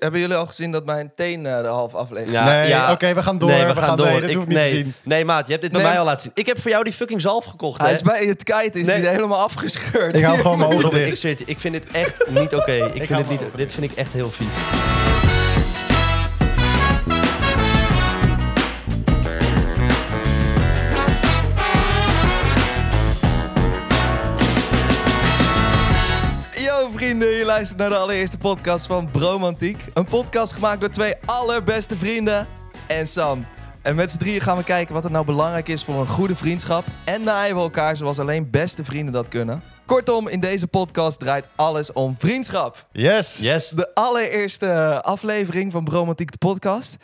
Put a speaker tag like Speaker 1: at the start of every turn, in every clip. Speaker 1: Hebben jullie al gezien dat mijn teen eh, de half aflevering?
Speaker 2: Ja,
Speaker 3: nee,
Speaker 2: ja.
Speaker 3: oké, we gaan door.
Speaker 2: nee,
Speaker 3: we, gaan, door. Nee, dat
Speaker 2: Ik-
Speaker 3: hoeft niet
Speaker 2: nee,
Speaker 3: te zien.
Speaker 2: Nee, maat, je hebt dit bij
Speaker 1: Nee.
Speaker 2: mij al laten zien. Ik heb voor jou die fucking zalf gekocht,
Speaker 1: Hij
Speaker 2: hè?
Speaker 1: is bij het kite, is
Speaker 2: Nee.
Speaker 1: die helemaal afgescheurd.
Speaker 3: Ik hou gewoon mijn ogen
Speaker 2: Robert, ik
Speaker 3: dicht.
Speaker 2: zweer het je, ik vind dit echt niet oké. Ik vind
Speaker 3: hou
Speaker 2: dit,
Speaker 3: van
Speaker 2: niet,
Speaker 3: ogen.
Speaker 2: dit vind ik echt heel vies.
Speaker 1: Yo vrienden, je luistert naar de allereerste podcast van Bromantiek. Een podcast gemaakt door twee allerbeste vrienden en Sam. En met z'n drieën gaan we kijken wat er nou belangrijk is voor een goede vriendschap. En naaien we elkaar zoals alleen beste vrienden dat kunnen. Kortom, in deze podcast draait alles om vriendschap.
Speaker 3: Yes.
Speaker 2: Yes.
Speaker 1: De allereerste aflevering van Bromantiek de podcast.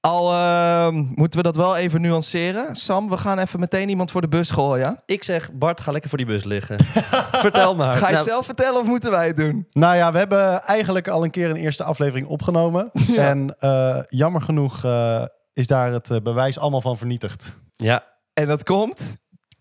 Speaker 1: Al ehm, moeten we dat wel even nuanceren. Sam, we gaan even meteen iemand voor de bus gooien. ja?
Speaker 2: Ik zeg, Bart, ga lekker voor die bus liggen. Vertel maar.
Speaker 1: Ga je het
Speaker 2: Nou,
Speaker 1: zelf vertellen of moeten wij het doen?
Speaker 3: Nou ja, we hebben eigenlijk al een keer een eerste aflevering opgenomen. En eh, jammer genoeg eh, is daar het eh, bewijs allemaal van vernietigd.
Speaker 2: Ja.
Speaker 1: En dat komt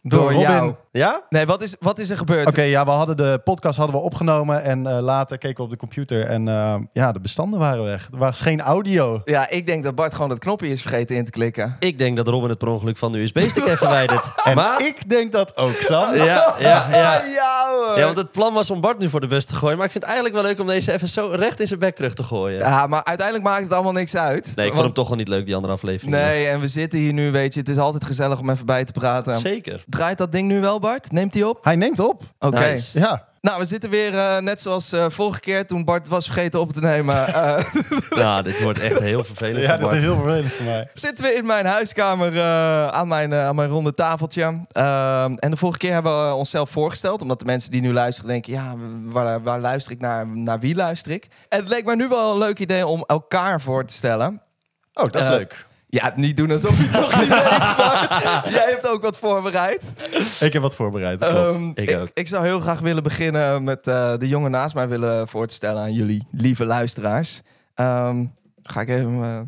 Speaker 3: Door
Speaker 1: door,
Speaker 3: Robin.
Speaker 1: jou.
Speaker 2: Ja?
Speaker 1: Nee, wat is, wat is er gebeurd?
Speaker 3: Oké, ja, we hadden de podcast hadden we opgenomen en eh, later keken we op de computer en eh, ja, de bestanden waren weg. Er was geen audio.
Speaker 1: Ja, ik denk dat Bart gewoon dat knopje is vergeten in te klikken.
Speaker 2: Ik denk dat Robin het per ongeluk van de USB-stick heeft verwijderd.
Speaker 3: En
Speaker 2: maar...
Speaker 3: ik denk dat ook, Sam.
Speaker 2: Ja, ja, ja.
Speaker 1: Ah, ja, hoor.
Speaker 2: Ja, want het plan was om Bart nu voor de bus te gooien. Maar ik vind het eigenlijk wel leuk om deze even zo recht in zijn bek terug te gooien.
Speaker 1: Ja, maar uiteindelijk maakt het allemaal niks uit.
Speaker 2: Nee, ik vond hem toch wel niet leuk, die andere aflevering.
Speaker 1: Nee, en we zitten hier nu, weet je. Het is altijd gezellig om even bij te praten.
Speaker 2: Zeker.
Speaker 1: Draait dat ding nu wel, Bart? Neemt hij op?
Speaker 3: Hij neemt op.
Speaker 1: Oké.
Speaker 2: Nice.
Speaker 3: Ja.
Speaker 1: Nou, we zitten weer eh, net zoals eh, vorige keer toen Bart was vergeten op te nemen. eh,
Speaker 2: Nou, dit wordt echt heel vervelend
Speaker 3: ja,
Speaker 2: voor
Speaker 3: dat
Speaker 2: Bart.
Speaker 3: is heel vervelend voor mij.
Speaker 1: zitten we in mijn huiskamer eh, aan, mijn, eh, aan mijn ronde tafeltje. Ehm, en de vorige keer hebben we eh, onszelf voorgesteld. Omdat de mensen die nu luisteren denken, ja, waar, waar luister ik naar? Naar wie luister ik? En het leek mij nu wel een leuk idee om elkaar voor te stellen.
Speaker 3: Oh, dat is
Speaker 1: Eh,
Speaker 3: leuk.
Speaker 1: Ja, niet doen alsof je het nog niet weet, Bart. Jij hebt ook wat voorbereid.
Speaker 3: Ik heb wat voorbereid. dat klopt.
Speaker 1: Ehm,
Speaker 2: Ik ook.
Speaker 1: ik, ik zou heel graag willen beginnen met eh, de jongen naast mij willen voor te stellen aan jullie lieve luisteraars. Ehm, ga ik even... eh,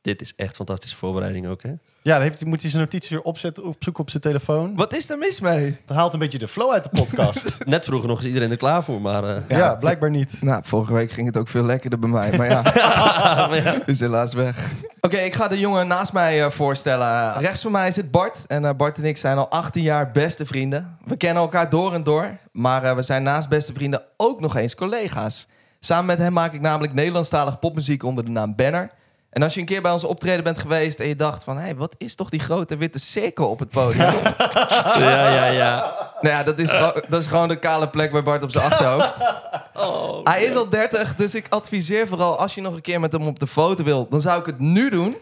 Speaker 2: Dit is echt fantastische voorbereiding ook, hè?
Speaker 3: Ja, dan heeft, moet hij zijn notities weer opzetten, opzoeken op zijn telefoon.
Speaker 1: wat is er mis mee?
Speaker 3: Het haalt een beetje de flow uit de podcast.
Speaker 2: Net vroeger nog is iedereen er klaar voor, maar... eh,
Speaker 3: ja. blijkbaar niet.
Speaker 1: Nou, vorige week ging het ook veel lekkerder bij mij, maar ja. Is helaas weg. Oké, ik ga de jongen naast mij eh, voorstellen. Rechts van mij zit Bart. En eh, Bart en ik zijn al 18 jaar beste vrienden. We kennen elkaar door en door. Maar eh, we zijn naast beste vrienden ook nog eens collega's. Samen met hem maak ik namelijk Nederlandstalige popmuziek onder de naam Banner. En als je een keer bij ons optreden bent geweest en je dacht van... hé, hey, wat is toch die grote witte cirkel op het podium?
Speaker 2: ja, ja, ja.
Speaker 1: Nou ja, dat is, gewo- dat is gewoon de kale plek bij Bart op zijn achterhoofd.
Speaker 2: Oh,
Speaker 1: Hij is al 30, dus ik adviseer vooral als je nog een keer met hem op de foto wilt, dan zou ik het nu doen.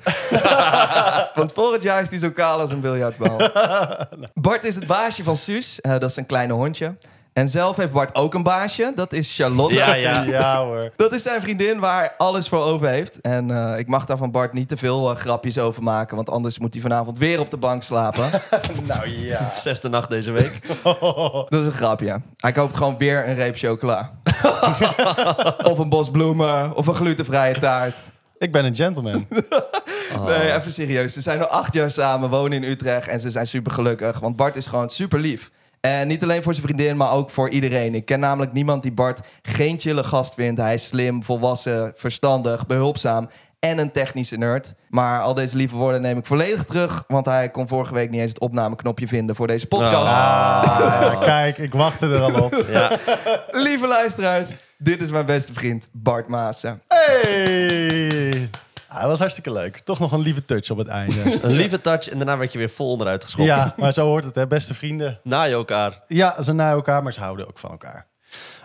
Speaker 1: Want volgend jaar is hij zo kaal als een biljartbal. Bart is het baasje van Suus, eh, dat is een kleine hondje. En zelf heeft Bart ook een baasje, dat is Charlotte.
Speaker 2: Ja, ja.
Speaker 3: Ja hoor.
Speaker 1: Dat is zijn vriendin waar hij alles voor over heeft. En eh, ik mag daar van Bart niet te veel eh, grapjes over maken, want anders moet hij vanavond weer op de bank slapen.
Speaker 3: nou ja.
Speaker 2: Zesde nacht deze week.
Speaker 1: Dat is een grapje. Hij koopt gewoon weer een reep chocola. of een bos bloemen, of een glutenvrije taart.
Speaker 3: Ik ben een gentleman.
Speaker 1: Nee, even serieus. Ze zijn al acht jaar samen, wonen in Utrecht en ze zijn super gelukkig. Want Bart is gewoon super lief. En niet alleen voor zijn vriendin, maar ook voor iedereen. Ik ken namelijk niemand die Bart geen chille gast vindt. Hij is slim, volwassen, verstandig, behulpzaam en een technische nerd. Maar al deze lieve woorden neem ik volledig terug, want hij kon vorige week niet eens het opnameknopje vinden voor deze podcast.
Speaker 3: Ah, kijk, ik wachtte er al op.
Speaker 2: Ja.
Speaker 1: Lieve luisteraars, dit is mijn beste vriend Bart Maassen.
Speaker 3: Hey! Ah, dat was hartstikke leuk. Toch nog een lieve touch op het einde.
Speaker 2: Een lieve touch en daarna werd je weer vol onderuit geschopt.
Speaker 3: ja, maar zo hoort het, hè, beste vrienden.
Speaker 2: Na je elkaar.
Speaker 3: Ja, ze naar elkaar, maar ze houden ook van elkaar.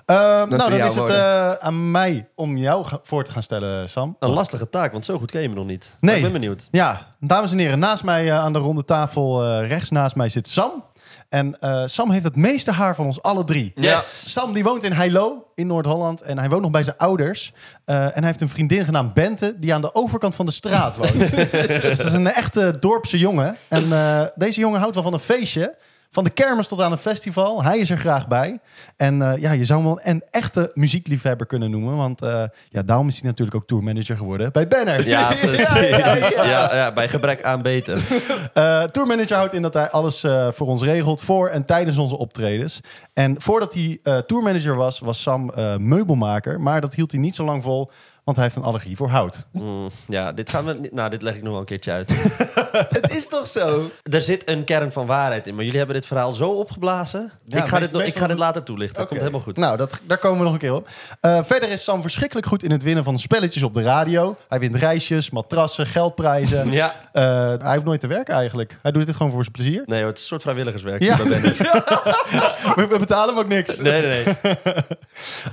Speaker 3: Ehm, nou, dan
Speaker 1: jouw
Speaker 3: is het
Speaker 1: woorden.
Speaker 3: eh, aan mij om jou ge- voor te gaan stellen, Sam.
Speaker 2: Een lastige taak, want zo goed ken je me nog niet. Maar
Speaker 3: Nee.
Speaker 2: Ik ben benieuwd.
Speaker 3: Ja, dames en heren, naast mij eh, aan de ronde tafel, eh, rechts naast mij zit Sam. En eh, Sam heeft het meeste haar van ons alle drie.
Speaker 2: Yes.
Speaker 3: Sam die woont in Heilo in Noord-Holland en hij woont nog bij zijn ouders. Eh, en hij heeft een vriendin genaamd Bente die aan de overkant van de straat woont. dus dat is een echte dorpse jongen. En eh, deze jongen houdt wel van een feestje. Van de kermis tot aan een festival. Hij is er graag bij. En eh, ja, je zou hem wel een echte muziekliefhebber kunnen noemen. Want eh, ja, daarom is hij natuurlijk ook tourmanager geworden bij Banner.
Speaker 2: Ja, precies. Ja, ja, bij gebrek aan beter.
Speaker 3: Eh, tourmanager houdt in dat hij alles eh, voor ons regelt voor en tijdens onze optredens. En voordat hij eh, tourmanager was, was Sam eh, meubelmaker. Maar dat hield hij niet zo lang vol. Want hij heeft een allergie voor hout.
Speaker 2: Mm, ja, dit gaan we. niet- Nou, dit leg ik nog wel een keertje uit.
Speaker 1: Het is toch zo?
Speaker 2: er zit een kern van waarheid in, maar jullie hebben dit verhaal zo opgeblazen. ik, ga
Speaker 3: meest-
Speaker 2: dit, nog- ik
Speaker 3: meestal
Speaker 2: ga dit
Speaker 3: doet-
Speaker 2: later toelichten. Dat
Speaker 1: Oké.
Speaker 2: komt helemaal goed.
Speaker 3: Nou, dat, daar komen we nog een keer op. Eh, verder is Sam verschrikkelijk goed in het winnen van spelletjes op de radio. Hij wint reisjes, matrassen, geldprijzen.
Speaker 2: ja.
Speaker 3: Eh, hij heeft nooit te werken eigenlijk. Hij doet dit gewoon voor zijn plezier.
Speaker 2: Nee hoor, het is een soort vrijwilligerswerk.
Speaker 3: Ja.
Speaker 2: Daar ben ik.
Speaker 3: We, we betalen hem ook niks.
Speaker 2: Nee, nee, nee.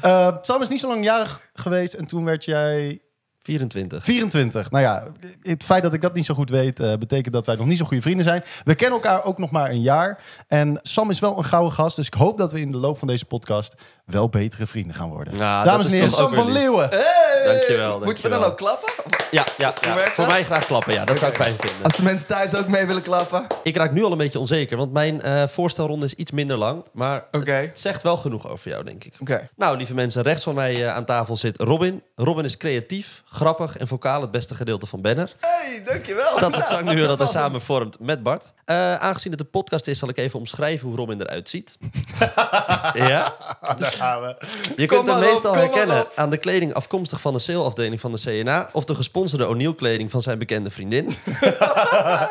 Speaker 3: Eh, Sam is niet zo lang jarig geweest en toen werd jij
Speaker 2: 24.
Speaker 3: 24. Nou ja, het feit dat ik dat niet zo goed weet, eh, betekent dat wij nog niet zo goede vrienden zijn. We kennen elkaar ook nog maar een jaar. En Sam is wel een gouden gast, dus ik hoop dat we in de loop van deze podcast wel betere vrienden gaan worden.
Speaker 2: Nou, dat
Speaker 3: Dames
Speaker 2: is
Speaker 3: en heren,
Speaker 2: toch
Speaker 3: Sam
Speaker 2: ook weer
Speaker 3: van
Speaker 2: lief.
Speaker 3: Leeuwen.
Speaker 1: Hey!
Speaker 2: Dankjewel,
Speaker 1: Moeten we
Speaker 2: dankjewel.
Speaker 1: dan ook klappen?
Speaker 2: Ja, ja,
Speaker 1: Hoe
Speaker 2: ja.
Speaker 1: werkt
Speaker 2: voor
Speaker 1: dat?
Speaker 2: mij graag klappen. Ja, dat zou ik fijn vinden.
Speaker 1: Als de mensen thuis ook mee willen klappen. Oké.
Speaker 2: Ik raak nu al een beetje onzeker, want mijn eh, voorstelronde is iets minder lang. Maar
Speaker 1: Oké.
Speaker 2: het zegt wel genoeg over jou, denk ik. Nou, lieve mensen, rechts van mij eh, aan tafel zit Robin. Robin is creatief, grappig en vocaal het beste gedeelte van Banner.
Speaker 1: Hey, dankjewel.
Speaker 2: Dat is het zangduo dat hij samen vormt met Bart. Eh, aangezien het een podcast is, zal ik even omschrijven hoe Robin eruit ziet. ja?
Speaker 1: Kom
Speaker 2: Je kunt hem
Speaker 1: maar op,
Speaker 2: meestal
Speaker 1: kom maar
Speaker 2: herkennen
Speaker 1: op.
Speaker 2: aan de kleding afkomstig van de saleafdeling van de CNA... of de gesponsorde O'Neill-kleding van zijn bekende vriendin.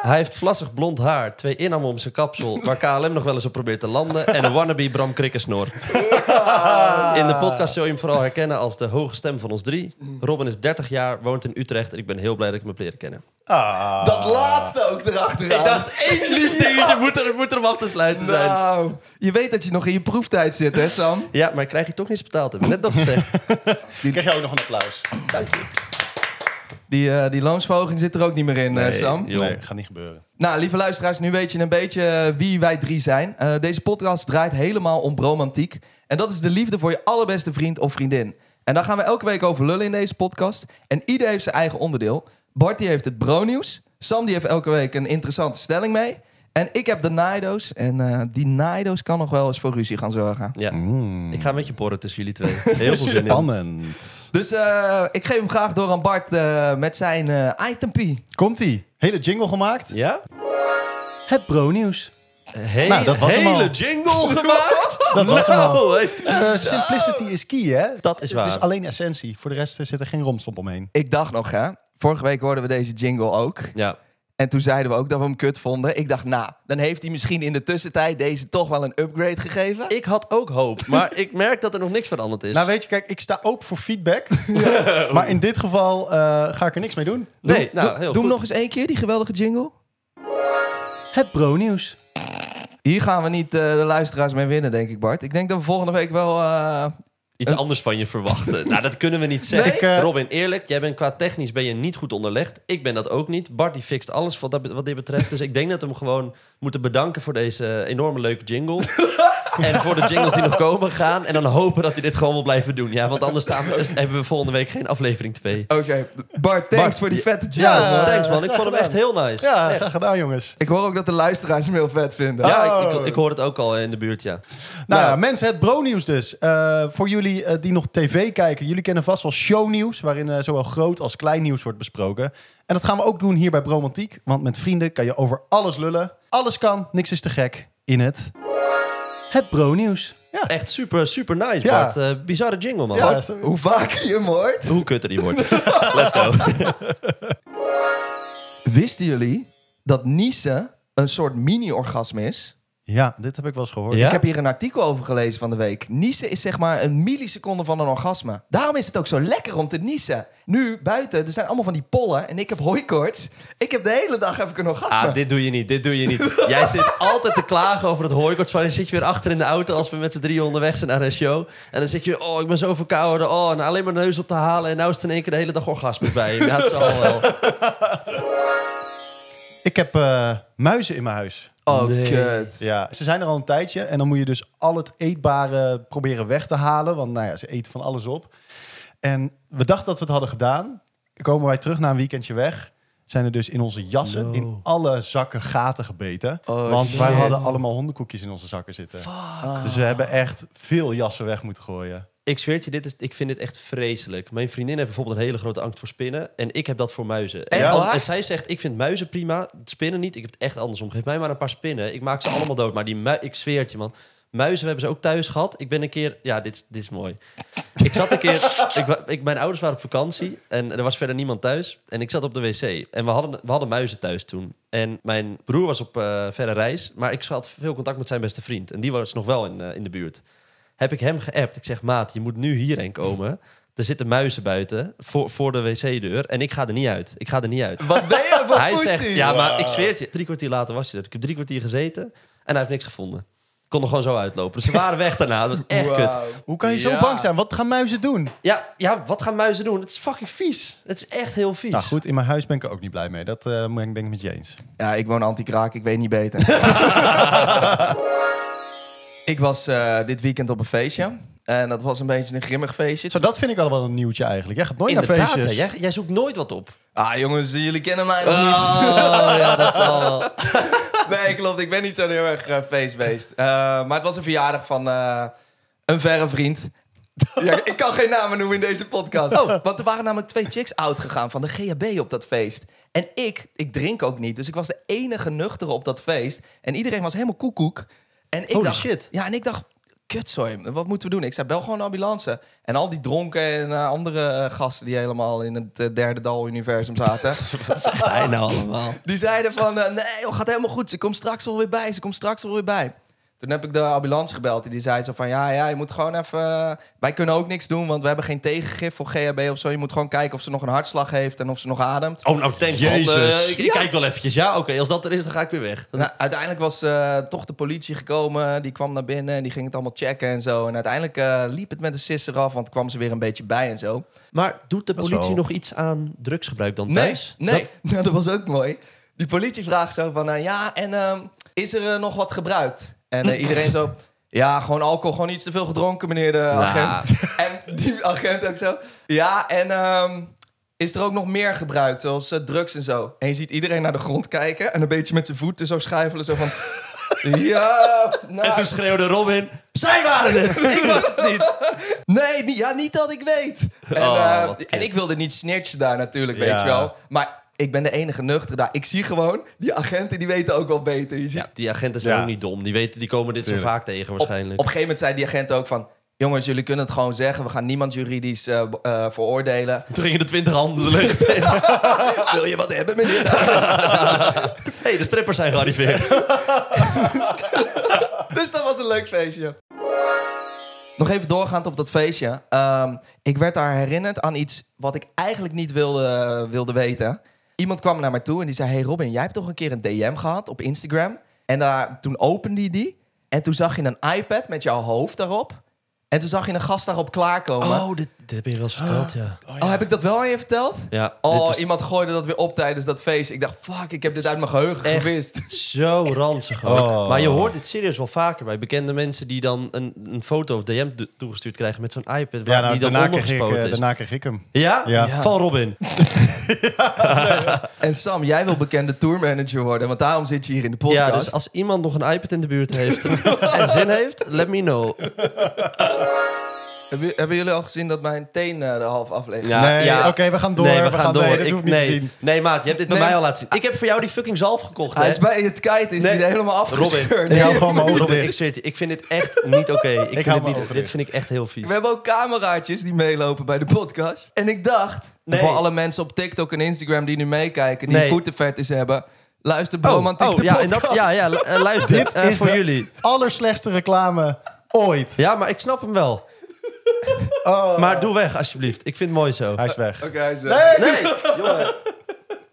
Speaker 2: Hij heeft vlassig blond haar, twee inhammen om zijn kapsel... waar KLM nog wel eens op probeert te landen... en een wannabe Bram Krikkensnor.
Speaker 3: Ah.
Speaker 2: In
Speaker 1: Ah.
Speaker 2: de podcast zul je hem vooral herkennen als de hoge stem van ons drie. Robin is 30 jaar, woont in Utrecht... en ik ben heel blij dat ik hem heb leren kennen.
Speaker 3: Ah.
Speaker 1: Dat laatste ook erachteraan.
Speaker 2: Ik dacht, één lief dingetje moet, er, moet er om af te sluiten zijn.
Speaker 1: Nou, je weet dat je nog in je proeftijd zit, hè Sam?
Speaker 2: Ja, maar ik krijg je toch niets betaald, heb ik net nog gezegd.
Speaker 3: Krijg jij ook nog een applaus?
Speaker 2: Dank je.
Speaker 1: Die, eh, die loonsverhoging zit er ook niet meer in, eh, Sam.
Speaker 2: joh.
Speaker 3: Nee, gaat niet gebeuren.
Speaker 1: Nou, lieve luisteraars, nu weet je een beetje eh, wie wij drie zijn. Eh, deze podcast draait helemaal om bromantiek. En dat is de liefde voor je allerbeste vriend of vriendin. En daar gaan we elke week over lullen in deze podcast. En ieder heeft zijn eigen onderdeel. Bart die heeft het bro-nieuws. Sam die heeft elke week een interessante stelling mee. En ik heb de Naido's. En eh, die Naido's kan nog wel eens voor ruzie gaan zorgen.
Speaker 2: Ja. Ik ga een beetje porren tussen jullie twee. Heel veel zin in.
Speaker 3: Mm. Spannend.
Speaker 1: Dus eh, ik geef hem graag door aan Bart eh, met zijn eh itempie.
Speaker 3: Komt-ie. Hele jingle gemaakt.
Speaker 2: Ja?
Speaker 3: Het bro-nieuws.
Speaker 2: Hele,
Speaker 3: Nou, dat was hem
Speaker 2: hele
Speaker 3: al.
Speaker 2: jingle gemaakt.
Speaker 3: Dat was hem
Speaker 2: nou,
Speaker 3: al.
Speaker 2: heeft-
Speaker 3: Eh, simplicity is key, hè?
Speaker 2: Dat is waar.
Speaker 3: Het is alleen essentie. Voor de rest eh, zit er geen romstomp omheen.
Speaker 1: Ik dacht nog, hè. Vorige week hoorden we deze jingle ook.
Speaker 2: Ja.
Speaker 1: En toen zeiden we ook dat we hem kut vonden. Ik dacht, nou, dan heeft hij misschien in de tussentijd deze toch wel een upgrade gegeven.
Speaker 2: Ik had ook hoop, maar ik merk dat er nog niks veranderd is.
Speaker 3: Nou weet je, kijk, ik sta ook voor feedback. Maar in dit geval eh, ga ik er niks mee doen.
Speaker 2: nee, nou, heel
Speaker 1: Doe hem
Speaker 2: goed.
Speaker 1: nog eens één keer, die geweldige jingle.
Speaker 3: Het bro-nieuws.
Speaker 1: Hier gaan we niet eh, de luisteraars mee winnen, denk ik, Bart. Ik denk dat we volgende week wel... eh,
Speaker 2: Iets anders van je verwachten. nou, dat kunnen we niet zeggen.
Speaker 3: Ik, eh,
Speaker 2: Robin, eerlijk, jij bent qua technisch ben je niet goed onderlegd. Ik ben dat ook niet. Bart die fixt alles wat, dat, wat dit betreft. Dus ik denk dat we hem gewoon moeten bedanken voor deze enorme leuke jingle. en voor de jingles die nog komen gaan. En dan hopen dat hij dit gewoon wil blijven doen. Ja, want anders staan we- dus hebben we volgende week geen aflevering 2.
Speaker 1: Oké, Bart, thanks
Speaker 2: Bart,
Speaker 1: voor die
Speaker 2: je-
Speaker 1: vette jingle.
Speaker 2: Ja,
Speaker 3: Ja,
Speaker 2: thanks man. Ik
Speaker 3: graag
Speaker 2: vond hem echt heel nice.
Speaker 3: Ja, graag gedaan, jongens.
Speaker 1: Ik hoor ook dat de luisteraars hem heel vet vinden.
Speaker 2: Ja, ik, ik,
Speaker 3: Oh.
Speaker 2: ik hoor het ook al in de buurt, ja.
Speaker 3: Nou ja, mensen, het bro-nieuws dus. Eh, voor jullie eh, die nog tv kijken, jullie kennen vast wel shownieuws... waarin eh, zowel groot als klein nieuws wordt besproken. En dat gaan we ook doen hier bij Bromantiek. Want met vrienden kan je over alles lullen. Alles kan, niks is te gek in het... Het bro-nieuws. Ja,
Speaker 2: Echt super, super nice,
Speaker 3: Ja.
Speaker 2: Bart. Eh, bizarre jingle, man.
Speaker 3: ja
Speaker 2: Gewoon
Speaker 3: zo-
Speaker 1: Hoe vaker je hem hoort.
Speaker 2: Hoe kutter die wordt. Let's go.
Speaker 1: Wisten jullie dat niezen een soort mini-orgasme is?
Speaker 3: ja, dit heb ik wel eens gehoord.
Speaker 2: Ja?
Speaker 1: Ik heb hier een artikel over gelezen van de week. Niezen is zeg maar een milliseconde van een orgasme. Daarom is het ook zo lekker om te niezen. Nu buiten, er zijn allemaal van die pollen en ik heb hooikoorts. Ik heb de hele dag heb ik een orgasme.
Speaker 2: Ah, dit doe je niet, dit doe je niet. Jij zit altijd te klagen over het hooikort. Dan zit je weer achter in de auto als we met z'n drieën onderweg zijn naar een show. En dan zit je, weer, oh, ik ben zo verkouden. Oh, en alleen maar neus op te halen. En nou is het in één keer de hele dag orgasme bij je. Ja, het zal wel.
Speaker 3: Ik heb eh, muizen in mijn huis.
Speaker 1: Oh,
Speaker 2: Nee.
Speaker 1: kut.
Speaker 3: Ja, ze zijn er al een tijdje en dan moet je dus al het eetbare proberen weg te halen. Want nou ja, ze eten van alles op. En we dachten dat we het hadden gedaan. Komen wij terug na een weekendje weg. Zijn er dus in onze jassen,
Speaker 2: No.
Speaker 3: in alle zakken gaten gebeten.
Speaker 1: Oh,
Speaker 3: want
Speaker 1: shit.
Speaker 3: wij hadden allemaal hondenkoekjes in onze zakken zitten. Dus we hebben echt veel jassen weg moeten gooien.
Speaker 2: Ik zweer het je, dit is, ik vind dit echt vreselijk. Mijn vriendin heeft bijvoorbeeld een hele grote angst voor spinnen. En ik heb dat voor muizen. En,
Speaker 1: Echt
Speaker 2: al-
Speaker 1: waar?
Speaker 2: en zij zegt, ik vind muizen prima, spinnen niet. Ik heb het echt andersom. Geef mij maar een paar spinnen. Ik maak ze allemaal dood. Maar die mui- ik zweer het je, man. Muizen hebben ze ook thuis gehad. Ik ben een keer... Ja, dit, is- dit is mooi. Ik zat een keer... Ik, wa- ik, mijn ouders waren op vakantie en er was verder niemand thuis. En ik zat op de wc. En we hadden, we hadden muizen thuis toen. En mijn broer was op eh, verre reis. Maar ik had veel contact met zijn beste vriend. En die was nog wel in, eh, in de buurt. Heb ik hem geappt. Ik zeg, maat, je moet nu hierheen komen. Er zitten muizen buiten voor, voor de wc-deur. En ik ga er niet uit. Ik ga er niet uit.
Speaker 1: Wat ben je voor
Speaker 2: Hij zegt,
Speaker 1: pussy?
Speaker 2: ja, maar ik zweer het je. Drie kwartier later was je er. Ik heb drie kwartier gezeten en hij heeft niks gevonden. Kon er gewoon zo uitlopen. Dus ze waren weg daarna. Dat was echt kut.
Speaker 1: Wauw.
Speaker 3: Hoe kan je zo
Speaker 1: Ja.
Speaker 3: bang zijn? Wat gaan muizen doen?
Speaker 2: Ja, ja, wat gaan muizen doen? Het is fucking vies. Het is echt heel vies.
Speaker 3: Nou goed, in mijn huis ben ik er ook niet blij mee. Dat eh, ben ik ben ik met je eens.
Speaker 1: Ja, ik woon anti-kraak, ik weet niet beter. ik was eh, dit weekend op een feestje. En dat was een beetje een grimmig feestje.
Speaker 3: Zo, dat vind ik al wel een nieuwtje eigenlijk. Jij gaat nooit naar
Speaker 2: Inderdaad,
Speaker 3: feestjes.
Speaker 2: hè. jij, jij zoekt nooit wat op.
Speaker 1: Ah jongens, jullie kennen mij nog
Speaker 2: Oh, ja, dat is al...
Speaker 1: niet. Nee, klopt, ik ben niet zo'n heel erg eh, feestbeest. Eh, maar het was een verjaardag van eh, een verre vriend. Ja, ik kan geen namen noemen in deze podcast.
Speaker 2: Oh.
Speaker 1: Want er waren namelijk twee chicks oud gegaan van de GHB op dat feest. En ik, ik drink ook niet, dus ik was de enige nuchtere op dat feest. En iedereen was helemaal koekoek. En ik
Speaker 2: Holy
Speaker 1: dacht,
Speaker 2: shit.
Speaker 1: Ja, en ik dacht, kut sorry, wat moeten we doen? Ik zei, bel gewoon de ambulance. En al die dronken en eh, andere eh, gasten die helemaal in het eh, derde dal-universum zaten...
Speaker 2: Wat zegt hij nou allemaal?
Speaker 1: Die zeiden van, eh, nee, joh, gaat helemaal goed. Ze komt straks wel weer bij. Ze komt straks wel weer bij. Toen heb ik de ambulance gebeld. En die zei zo van, ja, ja, je moet gewoon even... eh, wij kunnen ook niks doen, want we hebben geen tegengif voor GHB of zo. Je moet gewoon kijken of ze nog een hartslag heeft en of ze nog ademt.
Speaker 2: Oh, nou, thanks. God,
Speaker 3: Jezus.
Speaker 2: eh, ik, ik kijk wel eventjes. Ja, oké, als dat er is, dan ga ik weer weg.
Speaker 1: Nou, uiteindelijk was eh, toch de politie gekomen. Die kwam naar binnen en die ging het allemaal checken en zo. En uiteindelijk eh, liep het met de sisser af, want kwam ze weer een beetje bij en zo.
Speaker 2: Maar doet de
Speaker 3: Dat is
Speaker 2: politie
Speaker 3: wel-
Speaker 2: nog iets aan drugsgebruik dan
Speaker 1: Nee,
Speaker 2: thuis?
Speaker 1: nee. Dat... Nou, dat was ook mooi. Die politie vraagt zo van, eh, ja, en ehm, is er eh, nog wat gebruikt? En eh, iedereen zo, ja, gewoon alcohol, gewoon iets te veel gedronken, meneer de
Speaker 2: Nou.
Speaker 1: agent. En die agent ook zo, ja, en ehm, is er ook nog meer gebruikt, zoals eh, drugs en zo? En je ziet iedereen naar de grond kijken en een beetje met zijn voeten zo schuifelen, zo van... Ja, nou,
Speaker 2: En toen schreeuwde Robin, zij waren het! Ah. Ik was het niet!
Speaker 1: Nee, niet, ja, niet dat ik weet. En,
Speaker 2: Oh,
Speaker 1: eh,
Speaker 2: wat kut.
Speaker 1: en ik wilde niet snitchen daar natuurlijk, weet
Speaker 3: Ja.
Speaker 1: je wel. Maar ik ben de enige nuchter daar. Ik zie gewoon, die agenten die weten ook wel beter. Je ziet,
Speaker 2: Ja, die agenten zijn
Speaker 3: Ja.
Speaker 2: ook niet dom. Die, weten, die komen dit zo
Speaker 3: Tuurlijk.
Speaker 2: vaak tegen
Speaker 1: op, op een
Speaker 2: waarschijnlijk.
Speaker 1: gegeven moment zei die agenten ook van... Jongens, jullie kunnen het gewoon zeggen. We gaan niemand juridisch eh, b- eh, veroordelen.
Speaker 2: Toen gingen de twintig handen de lucht in.
Speaker 1: Wil je wat hebben, meneer?
Speaker 2: hey, de strippers zijn gearriveerd.
Speaker 1: dus dat was een leuk feestje. Nog even doorgaand op dat feestje. Ehm, ik werd daar herinnerd aan iets wat ik eigenlijk niet wilde, wilde weten. Iemand kwam naar mij toe en die zei... Hey Robin, jij hebt toch een keer een DM gehad op Instagram? En daar, toen opende hij die. En toen zag je een iPad met jouw hoofd daarop. En toen zag je een gast daarop klaarkomen. Oh,
Speaker 2: dit, dit heb je wel eens verteld, ja.
Speaker 1: heb ik dat wel aan je verteld?
Speaker 2: Ja, dit
Speaker 1: Oh,
Speaker 2: was
Speaker 1: iemand gooide dat weer op tijdens dat feest. Ik dacht, fuck, ik heb dit uit mijn geheugen
Speaker 2: Echt?
Speaker 1: gewist.
Speaker 2: zo ranzig. ook.
Speaker 3: Oh.
Speaker 2: Maar je hoort dit serieus wel vaker bij bekende mensen die dan een, een foto of DM do- toegestuurd krijgen met zo'n iPad waar
Speaker 3: Ja, nou,
Speaker 2: die dan
Speaker 3: daarna, kreeg ik,
Speaker 2: ondergespoten
Speaker 3: eh,
Speaker 2: is.
Speaker 3: daarna kreeg ik hem.
Speaker 2: Ja?
Speaker 3: Ja.
Speaker 2: Van Robin.
Speaker 1: En Sam, jij wil bekende tourmanager worden, want daarom zit je hier in de podcast.
Speaker 2: Ja, dus als iemand nog een iPad in de buurt heeft en zin heeft, let me know.
Speaker 1: Hebben, hebben jullie al gezien dat mijn teen eh, er half af ligt?
Speaker 3: Nee, oké, we gaan door, we gaan door. Dit hoef ik niet
Speaker 2: nee,
Speaker 3: te zien.
Speaker 2: Nee, maat, je hebt dit bij
Speaker 1: Nee.
Speaker 2: mij al laten zien. Ik heb voor jou die fucking zalf gekocht,
Speaker 1: Hij
Speaker 2: hè?
Speaker 1: is bij het kite, is
Speaker 2: Nee.
Speaker 1: hij helemaal afgescheurd.
Speaker 3: Ik hou gewoon mijn ogen
Speaker 2: Robert, ik
Speaker 3: dicht.
Speaker 2: zweer het je, ik vind dit echt niet oké. Ik vind
Speaker 3: hou
Speaker 2: dit,
Speaker 3: mijn
Speaker 2: niet,
Speaker 3: ogen
Speaker 2: dit vind ik echt heel vies.
Speaker 1: We hebben ook cameraatjes die meelopen bij de podcast. En ik dacht,
Speaker 2: Nee.
Speaker 1: voor alle mensen op TikTok en Instagram die nu meekijken, die
Speaker 2: Nee.
Speaker 1: voetenvettes hebben, luister Broman TikTok
Speaker 2: Oh, ja, en
Speaker 1: podcast.
Speaker 2: dat, ja, ja, lu- eh, luister,
Speaker 3: Dit
Speaker 2: eh,
Speaker 3: is
Speaker 2: voor
Speaker 3: de-
Speaker 2: jullie.
Speaker 3: Allerslechtste reclame ooit.
Speaker 2: Ja, maar ik snap hem wel.
Speaker 3: Oh.
Speaker 2: Maar doe weg, alsjeblieft. Ik vind het mooi zo.
Speaker 3: Hij is weg.
Speaker 1: Oké, hij is weg.
Speaker 2: Nee, jongen.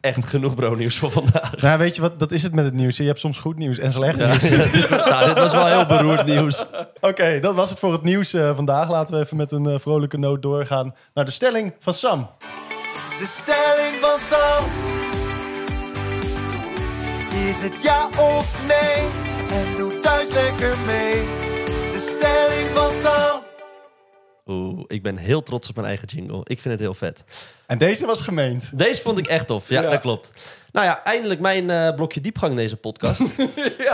Speaker 2: Echt genoeg bro-nieuws voor vandaag.
Speaker 3: Nou, weet je wat? Dat is het met het nieuws. Je hebt soms goed nieuws en slecht nieuws.
Speaker 2: nou, dit was wel heel beroerd nieuws.
Speaker 3: Oké, dat was het voor het nieuws eh, vandaag. Laten we even met een eh, vrolijke noot doorgaan naar de stelling van Sam.
Speaker 4: De stelling van Sam Is het ja of nee? En doe thuis lekker mee De stelling van Sam
Speaker 2: Oeh, ik ben heel trots op mijn eigen jingle. Ik vind het heel vet.
Speaker 3: En deze was gemeend.
Speaker 2: Deze vond ik echt tof. Ja,
Speaker 3: Ja.
Speaker 2: dat klopt. Nou ja, eindelijk mijn eh, blokje diepgang in deze podcast.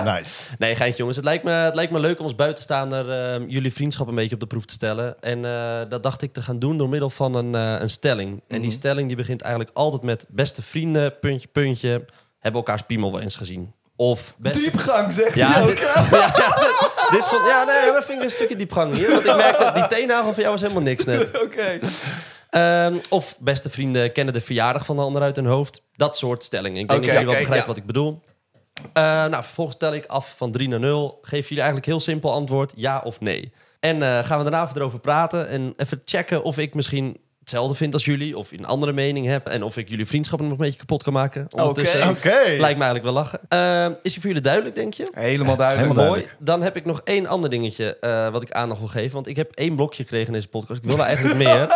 Speaker 3: Nice.
Speaker 2: nee, geintje jongens. Het lijkt me, het lijkt me leuk om als buitenstaander eh, jullie vriendschap een beetje op de proef te stellen. En eh, dat dacht ik te gaan doen door middel van een, eh, een stelling. En die stelling die begint eigenlijk altijd met beste vrienden, puntje, puntje. Hebben elkaars piemel wel eens gezien? Of beste
Speaker 1: Diepgang, zegt
Speaker 2: ja,
Speaker 1: hij ook.
Speaker 2: dit, ja, ja, dit- dit vond, ja, nee, we vingen een stukje diepgang hier. Want ik merkte, die teennagel van jou was helemaal niks net.
Speaker 1: Oké.
Speaker 2: Ehm, of beste vrienden kennen de verjaardag van de ander uit hun hoofd. Dat soort stellingen. Ik denk
Speaker 1: Oké,
Speaker 2: dat jullie
Speaker 1: oké,
Speaker 2: wel begrijpen
Speaker 1: ja.
Speaker 2: wat ik bedoel. Eh, nou, vervolgens tel ik af van 3 naar 0. Geef jullie eigenlijk heel simpel antwoord, ja of nee. En eh, gaan we daarna even erover praten en even checken of ik misschien hetzelfde vind als jullie. Of een andere mening heb en of ik jullie vriendschap nog een beetje kapot kan maken. Ondertussen.
Speaker 1: Oké.
Speaker 3: Oké.
Speaker 2: Lijkt me eigenlijk wel lachen. Ehm, is die voor jullie duidelijk, denk je?
Speaker 1: Helemaal duidelijk.
Speaker 3: Helemaal
Speaker 2: Mooi. Dan heb ik nog één ander dingetje eh, wat ik aandacht wil geven. Want ik heb één blokje gekregen in deze podcast. Ik wilde eigenlijk meer.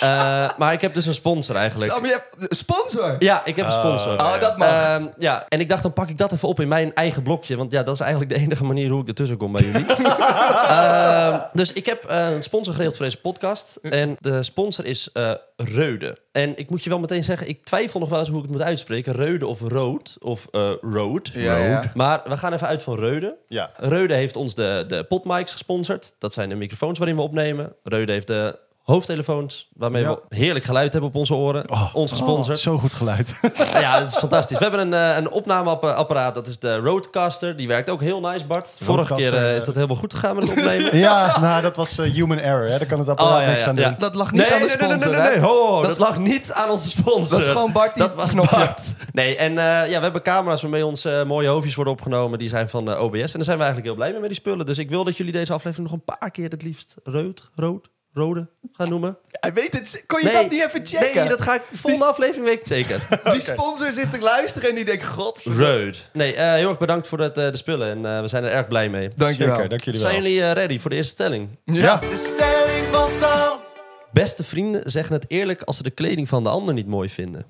Speaker 2: Eh, maar ik heb dus een sponsor eigenlijk.
Speaker 1: Sam, je hebt sponsor.
Speaker 2: Ja, ik heb een sponsor.
Speaker 1: Oh, dat mag.
Speaker 2: Ehm, ja, en ik dacht, dan pak ik dat even op in mijn eigen blokje. Want ja, dat is eigenlijk de enige manier hoe ik ertussen kom bij jullie. Ehm, dus ik heb eh, een sponsor geregeld voor deze podcast.
Speaker 1: Hm.
Speaker 2: En de sponsor is eh, Reude. En ik moet je wel meteen zeggen, ik twijfel nog wel eens hoe ik het moet uitspreken. Reude of Rood. Of eh, Road.
Speaker 1: Ja, ja.
Speaker 2: Maar we gaan even uit van Reude.
Speaker 3: Ja.
Speaker 2: Reude heeft ons de, de potmics gesponsord. Dat zijn de microfoons waarin we opnemen. Reude heeft de hoofdtelefoons waarmee
Speaker 3: Ja. Oh,
Speaker 2: we heerlijk geluid hebben op onze oren. ons gesponsord.
Speaker 3: zo goed geluid.
Speaker 2: Ja, dat is fantastisch. We hebben een, eh, een opnameapparaat, dat is de Roadcaster. Die werkt ook heel nice, Bart. Vorige keer
Speaker 3: Rodecaster,
Speaker 2: eh,
Speaker 3: eh.
Speaker 2: is dat helemaal goed gegaan met het opnemen.
Speaker 3: ja, nou, dat was eh, human error. Hè. Daar kan het
Speaker 2: Oh,
Speaker 3: apparaat niks aan doen.
Speaker 1: Dat lag niet aan de sponsor,
Speaker 2: Nee, nee, nee,
Speaker 1: hè?
Speaker 2: Ho, ho, dat, lag niet aan onze sponsor.
Speaker 1: Dat is gewoon Bart die
Speaker 2: Dat was
Speaker 1: knopje.
Speaker 2: Bart. Nee, en eh, ja, we hebben camera's waarmee ons eh, mooie hoofdjes worden opgenomen. Die zijn van eh, OBS. En daar zijn we eigenlijk heel blij mee met die spullen. Dus ik wil dat jullie deze aflevering nog een paar keer het liefst rood, rood, rode gaan noemen.
Speaker 1: Hij weet het. Kon je dat niet even checken?
Speaker 2: Nee, dat ga ik volgende aflevering weet ik het zeker.
Speaker 1: Die sponsor zit te luisteren en die denkt, god.
Speaker 2: Reud. Nee, eh, heel erg bedankt voor het, eh, de spullen en eh, we zijn er erg blij mee.
Speaker 3: Zeker, dank jullie wel.
Speaker 2: Zijn jullie eh, ready voor de eerste stelling?
Speaker 3: Ja.
Speaker 4: De stelling van Sam.
Speaker 2: Beste vrienden zeggen het eerlijk als ze de kleding van de ander niet mooi vinden.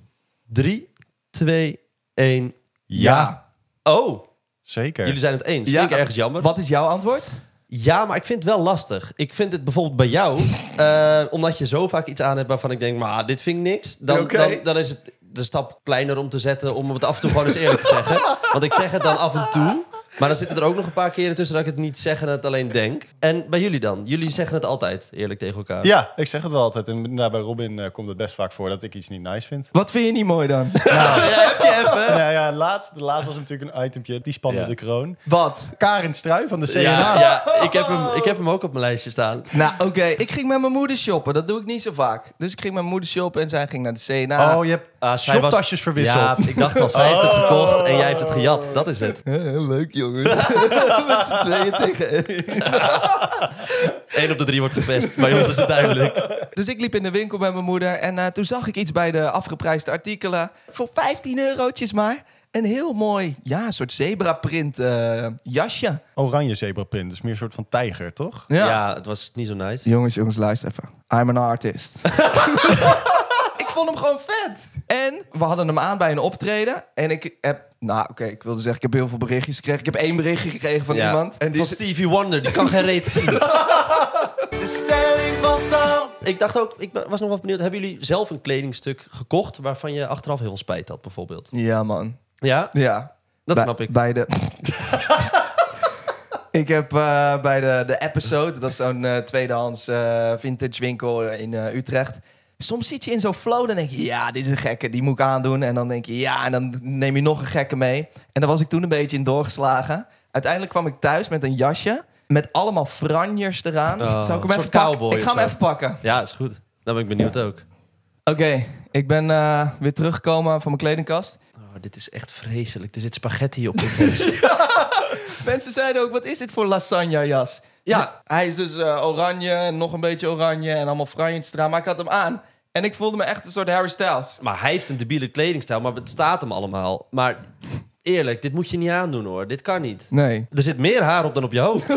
Speaker 2: 3, 2, 1.
Speaker 3: Ja.
Speaker 2: Oh,
Speaker 3: Zeker.
Speaker 2: jullie zijn het eens.
Speaker 1: Ja.
Speaker 2: Vind ik ergens jammer.
Speaker 1: Wat is jouw antwoord?
Speaker 2: Ja, maar ik vind het wel lastig. Ik vind het bijvoorbeeld bij jou, eh, omdat je zo vaak iets aan hebt waarvan ik denk, maar dit vind ik niks. Dan,
Speaker 1: Oké.
Speaker 2: dan, dan is het de stap kleiner om te zetten om het af en toe gewoon eens eerlijk te zeggen. Want ik zeg het dan af en toe. Maar dan zitten er ook nog een paar keren tussen dat ik het niet zeg en het alleen denk. En bij jullie dan? Jullie zeggen het altijd eerlijk tegen elkaar.
Speaker 3: Ja, ik zeg het wel altijd. En nou, bij Robin eh, komt het best vaak voor dat ik iets niet nice vind.
Speaker 1: Wat vind je niet mooi dan?
Speaker 3: Nou ja, laatst, de laatst was natuurlijk een itempje. Die spande
Speaker 2: Ja.
Speaker 3: de kroon.
Speaker 1: Wat?
Speaker 3: Karin Strui van de CNA.
Speaker 2: ja, ja, ik, heb hem, ik heb hem ook op mijn lijstje staan. Ah,
Speaker 1: Nou, oké. Ik ging met mijn moeder shoppen. Dat doe ik niet zo vaak. Dus ik ging met mijn moeder shoppen en zij ging naar de CNA.
Speaker 3: Oh, je hebt
Speaker 2: Ah, zij was-
Speaker 3: shoptasjes verwisseld.
Speaker 2: Ja, ik dacht al, zij heeft het gekocht en jij hebt het gejat. Dat is het.
Speaker 1: leuk, jongens. Met z'n tweeën tegen.
Speaker 2: Eén op de drie wordt gepest. Bij ons is het duidelijk.
Speaker 1: Dus ik liep in de winkel met mijn moeder en eh, toen zag ik iets bij de afgeprijsde artikelen. Voor 15 eurotjes maar. Een heel mooi, ja, soort zebraprint eh, jasje.
Speaker 3: Oranje zebraprint, dus meer een soort van tijger, toch?
Speaker 2: Ja. het was niet zo nice.
Speaker 1: Jongens, jongens, luister even. I'm an artist. ik vond hem gewoon vet. En we hadden hem aan bij een optreden. En ik heb... Nou, oké, ik wilde zeggen, ik heb heel veel berichtjes gekregen. Ik heb één berichtje gekregen van
Speaker 2: Ja.
Speaker 1: iemand. En die
Speaker 2: van
Speaker 1: is-
Speaker 2: Stevie Wonder, die kan geen reet zien.
Speaker 4: De stelling van Sam.
Speaker 2: ik dacht ook, ik was nog wel benieuwd. Hebben jullie zelf een kledingstuk gekocht waarvan je achteraf heel veel spijt had, bijvoorbeeld?
Speaker 1: Ja, man.
Speaker 2: Ja?
Speaker 1: Ja.
Speaker 2: Dat
Speaker 1: Bij-
Speaker 2: snap ik.
Speaker 1: Bij de... ik heb eh, bij de, de episode, dat is zo'n eh, tweedehands eh, vintage winkel in eh, Utrecht. Soms zit je in zo'n flow, dan denk je, ja, dit is een gekke, die moet ik aandoen. En dan denk je, ja, en dan neem je nog een gekke mee. En daar was ik toen een beetje in doorgeslagen. Uiteindelijk kwam ik thuis met een jasje, met allemaal franjers eraan. Zou
Speaker 2: Oh,
Speaker 1: ik hem
Speaker 2: een
Speaker 1: even
Speaker 2: soort
Speaker 1: pakken?
Speaker 2: cowboy
Speaker 1: Ik ga
Speaker 2: of
Speaker 1: hem
Speaker 2: zo.
Speaker 1: even pakken.
Speaker 2: Ja, is goed. Dan ben ik benieuwd ook.
Speaker 1: Oké, ik ben eh, weer teruggekomen van mijn kledingkast.
Speaker 2: Oh, dit is echt vreselijk. Er zit spaghetti op de feest.
Speaker 1: Mensen zeiden ook, wat is dit voor lasagna-jas?
Speaker 2: Ja.
Speaker 1: Hij is dus eh, oranje, en nog een beetje oranje en allemaal franjes eraan. Maar ik had hem aan en ik voelde me echt een soort Harry Styles.
Speaker 2: maar hij heeft een debiele kledingstijl, maar het staat hem allemaal. Maar eerlijk, dit moet je niet aandoen hoor. Dit kan niet.
Speaker 1: Nee.
Speaker 2: Er zit meer haar op dan op je hoofd.